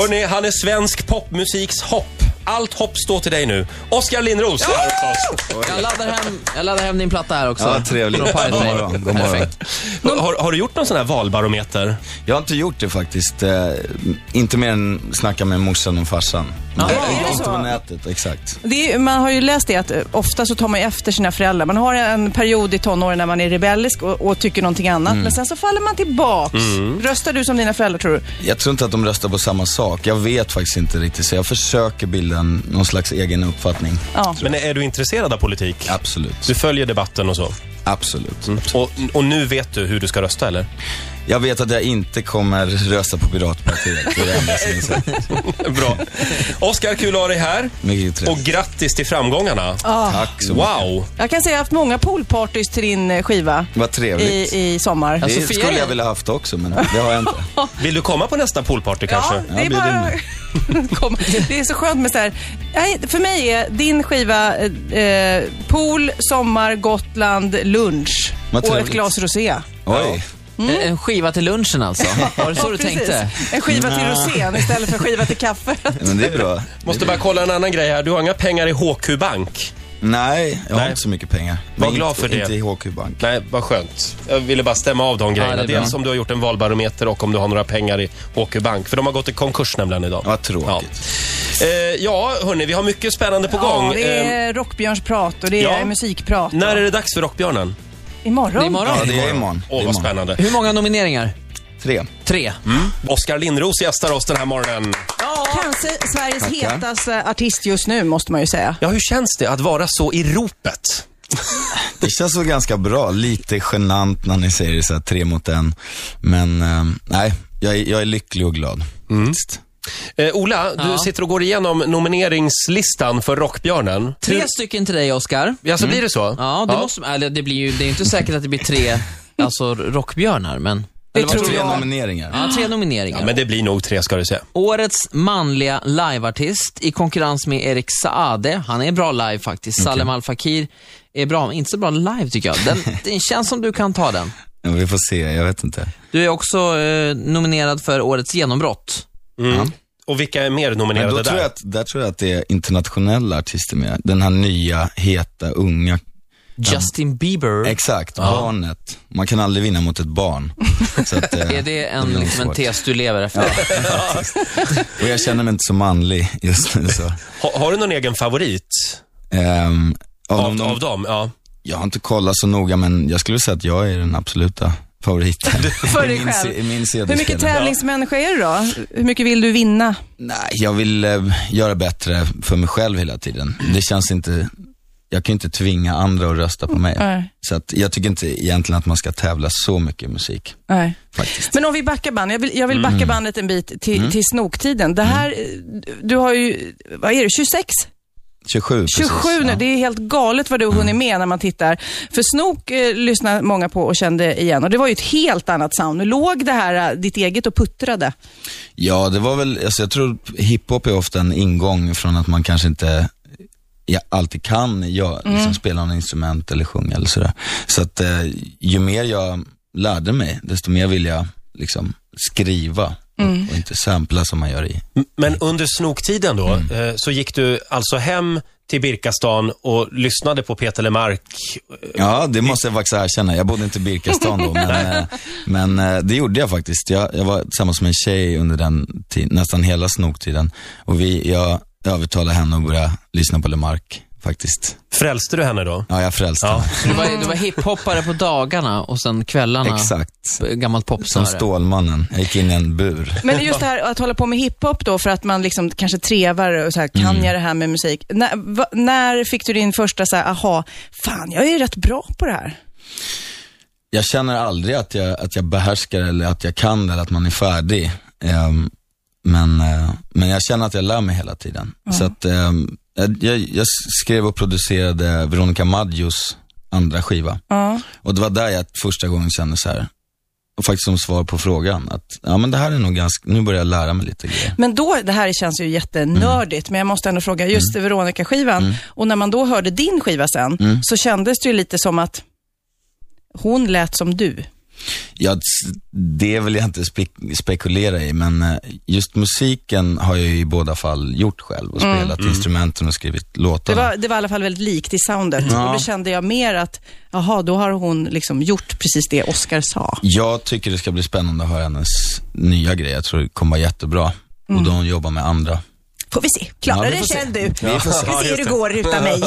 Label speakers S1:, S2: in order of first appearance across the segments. S1: Hörni, han är svensk popmusiks hopp. Allt hopp står till dig nu. Oskar Lindros!
S2: Jag laddar hem, jag laddar hem din platta här också.
S3: Ja, trevligt.
S2: Från Pirate
S3: God
S2: Bay.
S3: morgon, god morgon.
S2: Perfekt.
S1: Har- Har, har du gjort någon sån här valbarometer?
S3: Jag har inte gjort det faktiskt. Eh, inte mer än snacka med morsan och farsan.
S2: Ja,
S3: Nej,
S2: är
S4: det
S3: inte
S4: så?
S3: på nätet, exakt.
S4: Det är, man har ju läst det att eh, ofta så tar man ju efter sina föräldrar. Man har en period i tonåren när man är rebellisk och, och tycker någonting annat.
S3: Mm.
S4: Men sen så faller man tillbaks. Röstar du som dina föräldrar tror du?
S3: Jag tror inte att de röstar på samma sak. Jag vet faktiskt inte riktigt, så jag försöker bilda en- någon slags egen uppfattning.
S4: Ja.
S1: Men är du intresserad av politik?
S3: Absolut.
S1: Du följer debatten och så?
S3: Mm. Absolut.
S1: Och, och nu vet du hur du ska rösta, eller?
S3: Jag vet att jag inte kommer rösta på Piratpartiet. Det är det enda som är säkert.
S1: Bra. Oskar, kul att ha dig här.
S3: Mycket
S1: Och
S3: trevligt.
S1: grattis till framgångarna.
S3: Tack så mycket.
S1: Wow!
S4: Jag kan säga att jag har haft många poolpartys till din eh, skiva
S3: Vad trevligt.
S4: i, i sommar.
S3: Det
S2: Sofia
S3: skulle
S2: är-
S3: jag vilja haft också, men det har jag inte.
S1: Vill du komma på nästa poolparty kanske?
S4: Ja, det är
S3: Ja, bjud in
S4: bara... Kom. Det är så skönt med så här... Nej, för mig är din skiva eh, eh, pool, sommar, Gotland, lunch
S3: Vad
S4: och ett
S3: trevligt.
S4: glas rosé.
S3: Oj.
S2: Eh, En- En skiva till lunchen alltså. Var det så du
S4: Precis.
S2: tänkte?
S4: En skiva till rosén istället för skiva till kaffe.
S3: Men det är bra.
S1: Måste bara kolla en annan grej här. Du har inga pengar i HQ Bank.
S3: Nej, jag har
S1: Nej.
S3: inte så mycket pengar.
S1: Var
S3: Men
S1: glad
S3: inte,
S1: för det.
S3: Inte i HQ Bank.
S1: Nej, vad skönt. Jag ville bara stämma av de grejerna.
S2: det är bra.
S1: Dels om du har gjort en valbarometer och om du har några pengar i HQ Bank. För de har gått i konkurs nämligen idag.
S3: Vad tråkigt.
S1: Ja, eh, ja hörni, vi har mycket spännande på gång.
S4: Ja, det
S1: Eh,
S4: är rockbjörnsprat och det är
S1: ja.
S4: musikprat.
S1: när är det dags för Rockbjörnen?
S2: Det
S4: Imorgon.
S2: är
S3: Ja,
S2: imorgon.
S3: det är imorgon. Det är
S1: Åh, vad
S3: imorgon.
S1: spännande.
S2: Hur många nomineringar?
S3: Tre.
S2: Tre.
S3: Mm.
S1: Oskar Lindros gästar oss den här morgonen.
S4: Kanske Sveriges
S3: Tackar.
S4: hetaste artist just nu, måste man ju säga.
S1: Ja, hur känns det att vara så i ropet?
S3: Det känns så ganska bra. Lite genant när ni säger så här, tre mot en. Men ehm, nej, jag är, jag är lycklig och glad. Faktiskt.
S1: Eh, Ola, du
S2: Ja.
S1: sitter och går igenom nomineringslistan för Rockbjörnen.
S2: Tre stycken till dig, Oscar.
S1: Mm. Ja, så blir det så?
S2: Ja, det måste eller det blir ju, det är ju inte säkert att det blir tre, alltså rockbjörnar, men... eller vad
S4: tror
S3: Tre
S4: jag.
S3: nomineringar.
S2: Ja, tre nomineringar.
S1: Ja, men det blir nog tre ska du se.
S2: Årets manliga liveartist i konkurrens med Erik Saade. Han är bra live faktiskt. Salem Al Fakir är bra, men inte så bra live tycker jag. Den, det känns som du kan ta den.
S3: Ja, Vi får se, jag vet inte.
S2: Du är också eh, nominerad för Årets genombrott.
S1: Mm. Och vilka är mer
S3: Men då
S1: nominerade
S3: tror
S1: där?
S3: jag att, där tror jag att det är internationella artister med. Den här nya, heta, unga.
S2: Justin Bieber.
S3: Exakt, barnet. Man kan aldrig vinna mot ett barn. Så att, eh,
S2: är det en,
S3: blir nog
S2: liksom en
S3: svårt.
S2: tes du lever efter?
S3: och jag känner mig inte så manlig just nu. Så.
S1: Ha, har du någon egen favorit?
S3: Ehm, av
S1: Av,
S3: de-
S1: av dem, ja.
S3: Jag har inte kollat så noga, men jag skulle säga att jag är den absoluta favoriten.
S4: För
S3: I
S4: dig
S3: min
S4: själv.
S3: se- I min
S4: Hur mycket
S3: tävling?
S4: tävlingsmänniska är du då? Hur mycket vill du vinna?
S3: Nej, jag vill eh, göra bättre för mig själv hela tiden. Det känns inte, jag kan ju inte tvinga andra att rösta på mig.
S4: Nej.
S3: Så att jag tycker inte egentligen att man ska tävla så mycket i musik.
S4: Nej.
S3: Faktiskt.
S4: Men om vi backar bandet, jag vill, jag vill backa bandet en bit till, till snoktiden. Det här, eh, du har ju, vad är det, 26?
S3: 27 precis.
S4: 27 nu, det är helt galet vad du har hunnit med när man tittar. För Snook eh, lyssnade många på och kände igen och det var ju ett helt annat sound. Låg det här, eh, ditt eget, och puttrade?
S3: Ja, det var väl, alltså jag tror hiphop är ofta en ingång från att man kanske inte ja, alltid kan ja, liksom spela något instrument eller sjunga eller sådär. Så att eh, ju mer jag lärde mig, desto mer vill jag liksom skriva och, och inte sampla som man gör i.
S1: M- Men under snoktiden då,
S3: Mm.
S1: eh, så gick du alltså hem till Birkastan och lyssnade på Peter Lemark.
S3: Ja, det måste jag faktiskt erkänna. Jag bodde inte i Birkastan då, men, eh, men eh, det gjorde jag faktiskt. Jag, jag var tillsammans med en tjej under den ti- nästan hela snoktiden och vi, jag övertalade henne att börja lyssna på Lemark faktiskt.
S1: Frälste du henne då?
S3: Ja, jag frälste
S1: Ja.
S3: henne.
S2: Du var, du var hiphoppare på dagarna och sen kvällarna
S3: Exakt.
S2: b- gammalt popsnöre.
S3: Som Stålmannen. Jag gick in i en bur.
S4: Men just det här att hålla på med hiphop då för att man liksom kanske trevar och så här, kan jag det här med musik? När, va, när fick du din första så här, aha, fan jag är ju rätt bra på det här?
S3: Jag känner aldrig att jag, att jag behärskar eller att jag kan eller att man är färdig. Ehm, men, eh, men jag känner att jag lär mig hela tiden. Så att, ehm, jag- jag, jag skrev och producerade Veronica Maggios andra skiva.
S4: Ja.
S3: Och det var där jag första gången kände så här, och faktiskt som svar på frågan, att ja men det här är nog ganska, nu börjar jag lära mig lite grejer.
S4: Men då, det här känns ju jättenördigt, men jag måste ändå fråga, just Veronica-skivan, och när man då hörde din skiva sen, så kändes det ju lite som att hon lät som du.
S3: Ja, s- det vill jag inte spek- spekulera i, men eh, just musiken har jag ju i båda fall gjort själv och spelat instrumenten och skrivit
S4: Mm. Det
S3: låtar.
S4: var, det var i alla fall väldigt likt i soundet.
S3: Ja.
S4: Och då kände jag mer att, jaha, då har hon liksom gjort precis det Oscar sa.
S3: Jag tycker det ska bli spännande att höra hennes nya grej. Jag tror det kommer vara jättebra.
S4: Mm.
S3: Och då hon jobbar med andra.
S4: Får vi se. Klarar
S3: Ja, vi
S4: det
S3: får se.
S4: själv du.
S1: Vi får se.
S4: Ska
S1: Ja,
S4: vi se
S1: just
S4: hur det
S1: det.
S4: går utan mig.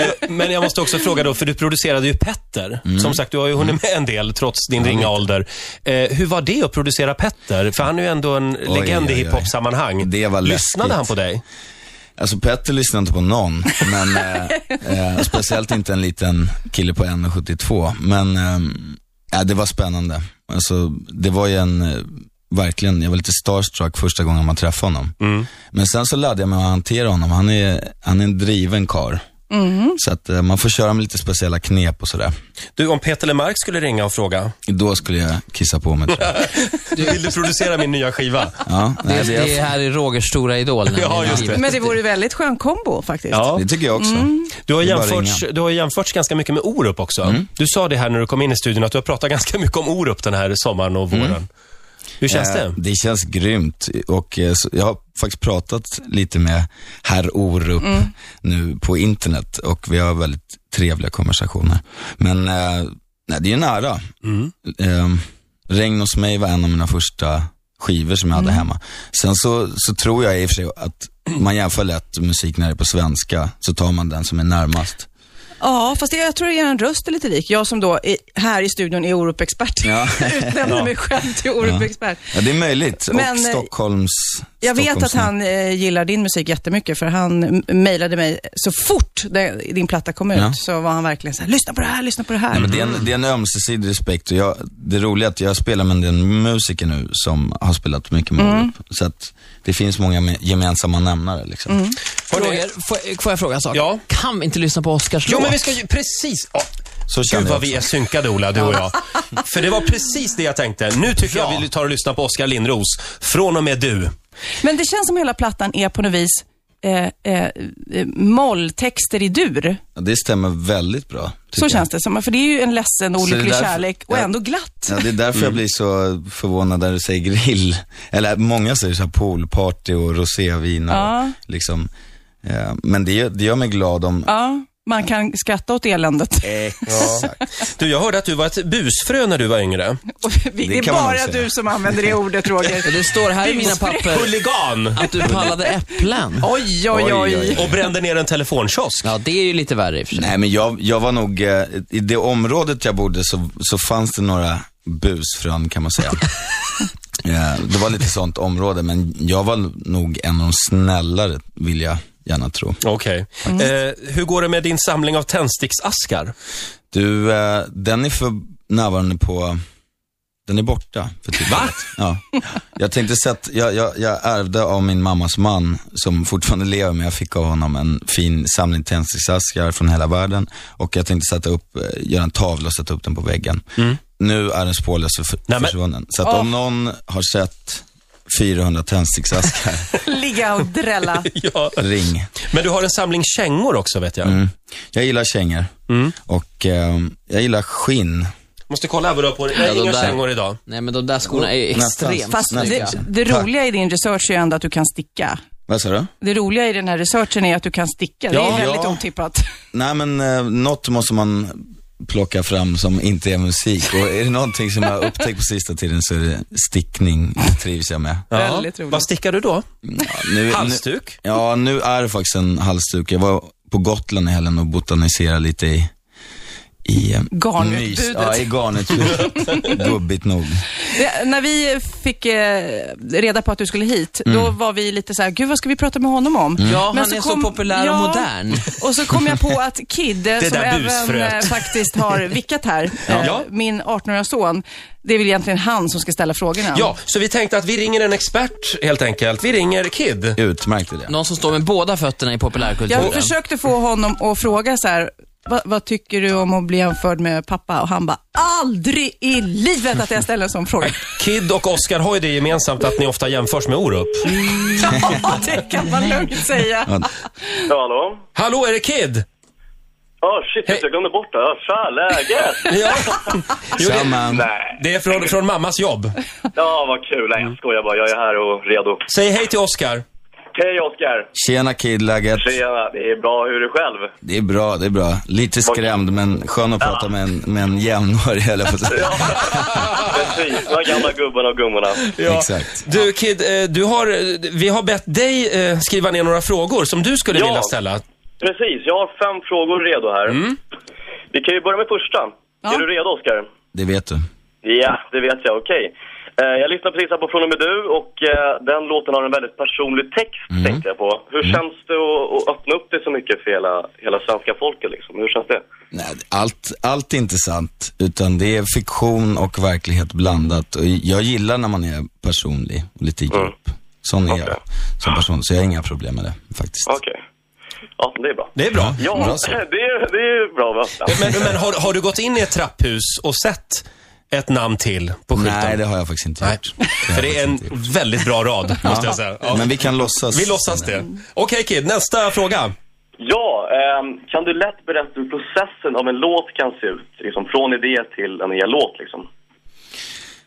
S1: Eh, Men jag måste också fråga då, för du producerade ju Petter.
S3: Mm.
S1: Som sagt, du har ju hunnit med en del trots din ringa ålder. Eh, hur var det att producera Petter? För han är ju ändå en legend
S3: oj,
S1: i
S3: oj.
S1: hiphop-sammanhang.
S3: Det var
S1: Lyssnade
S3: läskigt.
S1: han på dig?
S3: Alltså Petter lyssnar inte på någon, men eh, eh, speciellt inte en liten kille på 1,72. Men eh, ja, det var spännande. Alltså, det var ju en, eh, verkligen, jag var lite starstruck första gången man träffade honom. Men sen så lärde jag mig att hantera honom. Han är, han är en driven karl. Så att eh, man får köra med lite speciella knep och sådär.
S1: Du, om Peter Lemark skulle ringa och fråga,
S3: Då skulle jag kissa på mig tror jag.
S1: vill du producera min nya skiva?
S3: Ja, nej, det,
S2: Det, det
S3: är,
S2: här är Rogers stora idol. nämligen.
S1: Ja, just det.
S4: Men det vore väldigt skön kombo faktiskt.
S1: Ja.
S3: det tycker jag också.
S1: Du har,
S3: Det är bara Mm.
S1: jämförts, du har jämförts ganska mycket med Orup också. Du sa det här när du kom in i studion, att du har pratat ganska mycket om Orup den här sommaren och våren. Hur känns
S3: Mm. Eh,
S1: det?
S3: Det känns grymt och eh, så- jag har faktiskt pratat lite med herr Orup
S4: Mm.
S3: nu på internet och vi har väldigt trevliga konversationer. Men eh, nej, det är en ära.
S1: Mm.
S3: Eh, Regn hos mig var en av mina första skivor som jag hade
S4: Mm.
S3: hemma. Sen så, så tror jag i och för sig att man jämför lätt musik när det är på svenska, så tar man den som är närmast.
S4: Ja, fast det, jag tror er röst är lite lik. Jag som då är, här i studion är Orup-expert.
S3: Ja.
S4: Utnämnde mig själv till Orup-expert.
S3: Ja, det är möjligt.
S4: Men,
S3: och
S4: eh,
S3: Stockholms...
S4: Jag vet att
S3: Stockholms-
S4: han eh, gillar din musik jättemycket för han m- mejlade mig så fort det, din platta kom ut
S3: Ja.
S4: så var han verkligen så här, lyssna på det här, lyssna på det här.
S3: Nej, men det, är en, det är en ömsesidig respekt och jag, det roliga är att jag spelar med en musiker nu som har spelat mycket
S4: Mhm.
S3: med Orup. Så att det finns många me- gemensamma nämnare liksom.
S4: Mhm.
S1: Hörrni,
S2: Roger, får, får jag fråga en sak?
S1: Ja.
S2: Kan vi inte lyssna på Oscars
S1: Jo,
S2: låt?
S1: men vi ska ju precis... ja.
S3: Så känner
S1: Gud vad
S3: jag
S1: vi är synkade Ola, du och jag. För det var precis det jag tänkte. Nu tycker jag vi tar och lyssnar på Oskar Lindros. Från och med du.
S4: Men det känns som hela plattan är på något vis eh, eh, eh, molltexter i dur.
S3: Ja, det stämmer väldigt bra. tycker
S4: Så
S3: jag.
S4: känns det som. För det är ju en ledsen och
S3: Så det är
S4: olycklig
S3: därför-
S4: kärlek och
S3: ja.
S4: ändå glatt.
S3: Ja, det är därför
S4: Mm.
S3: jag blir så förvånad när du säger grill. Eller många säger så här poolparty och rosévin och
S4: Ja.
S3: liksom. Eh, men det, gör- det gör mig glad om...
S4: Ja, man kan skratta åt eländet.
S3: Exakt.
S1: Du, jag hörde att du var ett busfrö när du var yngre.
S4: Och vi, det, är
S3: kan man nog
S4: bara
S3: säga.
S4: du som använder det ordet, Roger.
S2: Det står här i mina papper
S1: Huligan!
S2: att du pallade äpplen.
S4: Oj, oj,
S3: Oj, oj,
S4: oj.
S3: oj.
S1: Och brände ner en telefonkiosk.
S2: Ja, det är ju lite värre i och för sig.
S3: Nej men jag, jag var nog, eh, i det området jag bodde så, så fanns det några busfrön kan man säga. Eh, det var lite sånt område men jag var nog en av de snällare vill jag gärna tro.
S1: Okej.
S3: Mm.
S1: Eh, hur går det med din samling av tändsticksaskar?
S3: Du, eh, den är för närvarande på, den är borta för tillfället. Ja. Jag tänkte sätt, jag, jag, jag ärvde av min mammas man som fortfarande lever men jag fick av honom en fin samling tändsticksaskar från hela världen och jag tänkte sätta upp, eh, göra en tavla och sätta upp den på väggen. Nu är den spårlöst för,
S1: Mm. Nej, men-
S3: försvunnen. Så att om någon har sett 400 tändsticksaskar,
S4: Ligga och drälla.
S1: ja.
S3: ring.
S1: Men du har en samling kängor också vet jag.
S3: Mm. Jag gillar kängor
S1: Mm.
S3: och eh, jag gillar skinn.
S1: Måste kolla här vad du har på dig. Jag har
S2: Ja, de
S1: inga
S2: där.
S1: kängor idag.
S2: Nej, men de där skorna är ju
S3: Nästan.
S2: extremt
S4: Fast
S2: snygga.
S4: det, det
S3: Tack.
S4: roliga i din research är ju ändå att du kan sticka.
S3: Vad sa du?
S4: Det roliga i den här researchen är att du kan sticka. det
S1: Ja,
S4: är väldigt
S1: ja.
S4: otippat.
S3: Nej men eh, något måste man plocka fram som inte är musik och är det någonting som jag har upptäckt på sista tiden så är det stickning, det trivs jag med.
S4: Väldigt roligt.
S1: Vad stickar du då?
S3: Ja, nu, nu,
S1: Halsduk?
S3: ja, nu är det faktiskt en halsduk. Jag var på Gotland i helgen och botaniserade lite i, i eh,
S4: Garnutbudet.
S3: mys. Ja, i garnutbudet. Gubbigt nog.
S4: Det, när vi fick eh, reda på att du skulle hit, då var vi lite så här, gud vad ska vi prata med honom om?
S2: Mm. Ja, han är så populär och modern.
S4: Och så kom jag på att Kid, eh, som
S1: där
S4: även
S1: busfröet.
S4: eh, faktiskt har vickat här, eh,
S1: Ja.
S4: min 18-åriga son, det är väl egentligen han som ska ställa frågorna.
S1: Ja, så vi tänkte att vi ringer en expert helt enkelt. Vi ringer Kid.
S3: Utmärkt idé.
S2: Någon som står med båda fötterna i
S4: Jag
S2: populärkulturen.
S4: försökte få honom att fråga så här, "Va- vad tycker du om att bli jämförd med pappa? Och han bara, aldrig i livet att jag ställer en sån fråga.
S1: Kid och Oscar har ju det gemensamt att ni ofta jämförs med Orup.
S4: ja, det kan man lugnt säga.
S5: Ja, hallå?
S1: Hallå, är det Kid?
S5: Ja, shit, jag glömde bort det. Ja, Tja, läget?
S1: Ja. Jo,
S3: Tja,
S1: det,
S3: man.
S5: Nej.
S1: det är från, från mammas jobb.
S5: Ja, vad kul. Nej, jag skojar bara. Jag är här och redo.
S1: Säg hej till Oscar.
S5: Hej, Oskar.
S3: Tjena kid, läget?
S5: Tjena. Det är bra. Hur är det själv?
S3: Det är bra, det är bra. Lite skrämd men skön att prata med en, med en jämnårig höll jag på att säga.
S5: Precis. De här gamla gubbarna och gummorna.
S1: Ja.
S3: Exakt.
S1: Du Kid, eh, du har, eh, vi har bett dig eh, skriva ner några frågor som du skulle
S5: Ja.
S1: vilja ställa.
S5: Precis. Jag har fem frågor redo här. Vi kan ju börja med första.
S4: Ja.
S5: Är du redo, Oskar?
S3: Det vet du.
S5: Ja, det vet jag. Okej. Eh, jag lyssnade precis här på Från och med du och eh, den låten har en väldigt personlig text, tänkte jag på. Hur känns det att, att öppna upp det så mycket för hela, hela svenska folket liksom? Hur känns det?
S3: Nej, allt, allt är inte sant, utan det är fiktion och verklighet blandat. Och jag gillar när man är personlig och lite djup. Sån är jag
S5: Mm. Okej.
S3: som person, så jag har inga problem med det faktiskt.
S5: Okej. Ja, det är bra.
S1: Det är bra.
S5: Ja,
S3: Bra så.
S5: det är, det är bra va? Ja.
S1: Men, men har, har du gått in i ett trapphus och sett ett namn till på skylten?
S3: Nej, det har jag faktiskt inte
S1: Nej.
S3: gjort.
S1: För det är en väldigt bra rad, måste jag säga. Ja.
S3: Men vi kan låtsas.
S1: Vi låtsas det. Okej Kid, nästa fråga.
S5: Ja, ehm, kan du lätt berätta hur processen av en låt kan se ut? Liksom från idé till en hel låt liksom.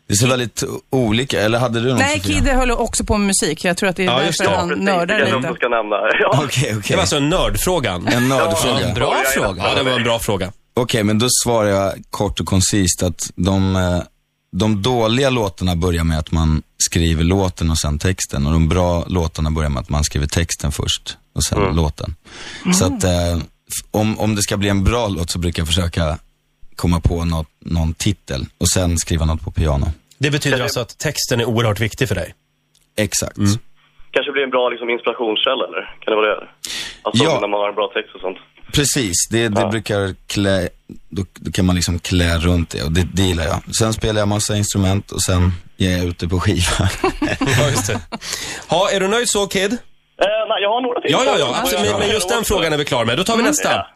S3: Det ser väldigt olika, eller hade du någon
S4: Nej,
S3: Sofia?
S4: Kid höll också på med musik. Jag tror att det är
S1: Ja, just
S4: därför
S1: det.
S4: han
S5: Precis,
S4: nördar
S5: det kanske jag
S4: lite.
S5: också ska nämna. Ja.
S3: Okej,
S1: Det
S3: okej.
S1: var alltså nördfrågan.
S3: En
S1: Ja,
S3: nördfråga.
S1: en bra
S5: Ja, ja, ja.
S1: fråga. Ja, det var en bra fråga.
S3: Okej, men då svarar jag kort och koncist att de, eh, de dåliga låtarna börjar med att man skriver låten och sen texten. Och de bra låtarna börjar med att man skriver texten först och sen låten. Så att eh, f- om, om det ska bli en bra låt så brukar jag försöka komma på något, någon titel och sen skriva något på piano.
S1: Det betyder alltså att texten är oerhört viktig för dig.
S3: Exakt.
S5: Kanske blir en bra liksom, inspirationskälla eller? Kan det vara det? Alltså
S3: Ja.
S5: när man har en bra text och sånt.
S3: Precis, det, det brukar klä, då, då kan man liksom klä runt det och det, det gillar jag. Sen spelar jag massa instrument och sen ger jag ut det på skiva.
S1: Ja, just det. Ha, är du nöjd så Kid?
S5: Eh, nej, jag har några till.
S1: Ja, ja, ja. Alltså, men, men just den frågan är vi klara med. Då tar vi nästa.
S5: Ja.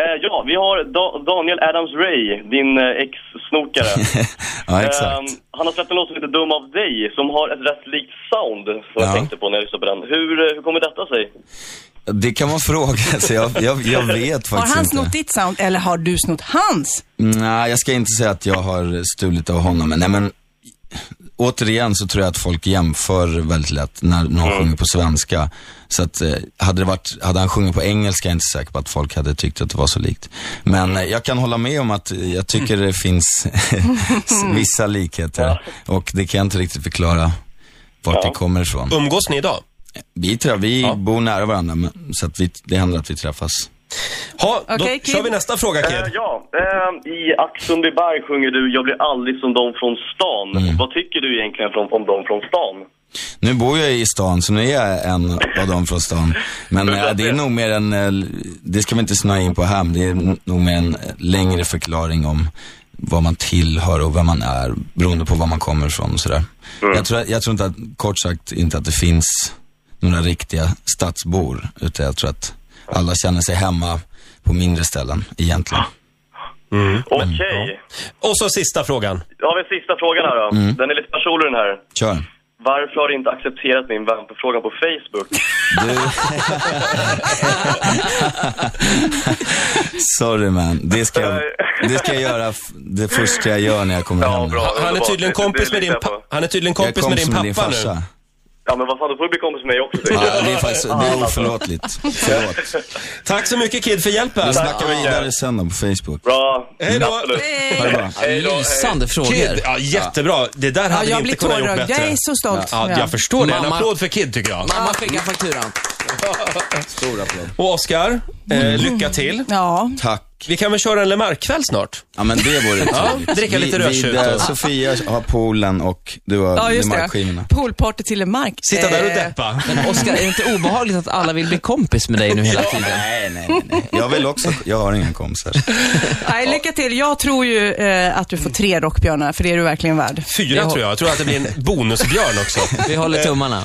S5: Eh, ja, vi har da- Daniel Adams Ray, din eh, ex-snokare.
S3: ja,
S5: Eh,
S3: exakt.
S5: han har släppt en låt som heter Dum av dig, som har ett rätt likt sound, som
S3: Ja.
S5: jag tänkte på när jag lyssnade på den. Hur, eh, hur kommer detta sig?
S3: Det kan man fråga sig. Jag, jag, jag vet
S4: Ehm. Har
S3: faktiskt
S4: han
S3: inte.
S4: snott ditt sound eller har du snott hans?
S3: Nej, jag ska inte säga att jag har stulit av honom. Men, nej, men återigen så tror jag att folk jämför väldigt lätt när någon
S4: Mm.
S3: sjunger på svenska. Så att, eh, hade, det varit, hade han sjungit på engelska är jag inte säker på att folk hade tyckt att det var så likt. Men eh, jag kan hålla med om att eh, jag tycker det finns s- vissa likheter. Och det kan jag inte riktigt förklara vart det kommer ifrån.
S1: Umgås ni idag?
S3: Vi, tra- vi bor nära varandra, men, så att vi, det händer att vi träffas.
S1: Ha, då
S4: Okej, Kid.
S1: kör vi nästa fråga
S5: Eh,
S1: Kid.
S5: ja, eh, i Axundbyberg sjunger du Jag blir aldrig som de från stan.
S3: Mm.
S5: Vad tycker du egentligen från, om de från stan?
S3: Nu bor jag i stan, så nu är jag en av dem från stan. Men eh, det är nog mer en, eh, det ska vi inte snöa in på här, men det är nog mer en eh, längre förklaring om vad man tillhör och vem man är, beroende på var man kommer ifrån och sådär. Jag, tror, jag tror inte att, kort sagt, inte att det finns några riktiga stadsbor, utan jag tror att alla känner sig hemma på mindre ställen egentligen.
S5: Okej.
S1: Och så sista frågan.
S5: Då har vi sista frågan här då.
S3: Mm.
S5: Den är lite personlig den här.
S3: Kör.
S5: Varför har du inte accepterat min vänförfrågan på Facebook?
S3: Du... Sorry man, det ska, jag, det ska jag göra f- det första jag gör när jag kommer hem. nu.
S1: Han är
S5: underbart.
S1: tydligen
S5: Det- det
S1: kompis med din,
S5: litar jag
S1: pa-
S5: på.
S1: han är tydligen
S3: Jag är
S1: kompis med din pappa nu.
S3: farsa.
S5: Ja, men vad fan, då får du bli kompis med mig också. typ. tycker jag.
S3: Ja, det är faktiskt, det är oförlåtligt. Förlåt.
S1: Tack så mycket Kid för hjälpen.
S3: Vi snackar vidare sen då på Facebook.
S5: Bra.
S1: Hej då.
S5: Absolut.
S3: Ha det bra.
S2: Lysande frågor.
S1: Kid, ja, jättebra. Det där
S4: Ja,
S1: hade
S4: jag
S1: vi
S4: blir
S1: inte kunnat gjort
S4: tårögd. Jag
S1: bättre.
S4: är så stolt.
S1: Ja, jag förstår det. En
S2: Mamma-
S1: applåd för Kid tycker jag.
S2: Mamma skickar fakturan.
S3: Stor applåd.
S1: Och Oscar, eh, lycka till.
S4: Ja.
S3: Tack.
S1: Vi kan väl köra en Lemarkkväll snart?
S3: Ja men det vore trevligt.
S1: dricka lite
S3: Vi-
S1: rödtjut
S3: vid, eh,
S1: och-
S3: Sofia har poolen och du har
S4: ja, just det.
S3: markskivorna.
S4: Poolparty till Mark.
S1: Sitta där och
S4: Eh,
S1: deppa.
S2: Men Oskar, är det inte obehagligt att alla vill bli kompis med dig nu hela tiden?
S3: Nej, nej, nej, nej. Jag vill också, jag har inga kompisar.
S4: Nej, lycka till. Jag tror ju eh, att du får tre rockbjörnar, för det är du verkligen värd.
S1: Fyra tror jag. Jag tror att det blir en bonusbjörn också.
S2: Vi håller tummarna.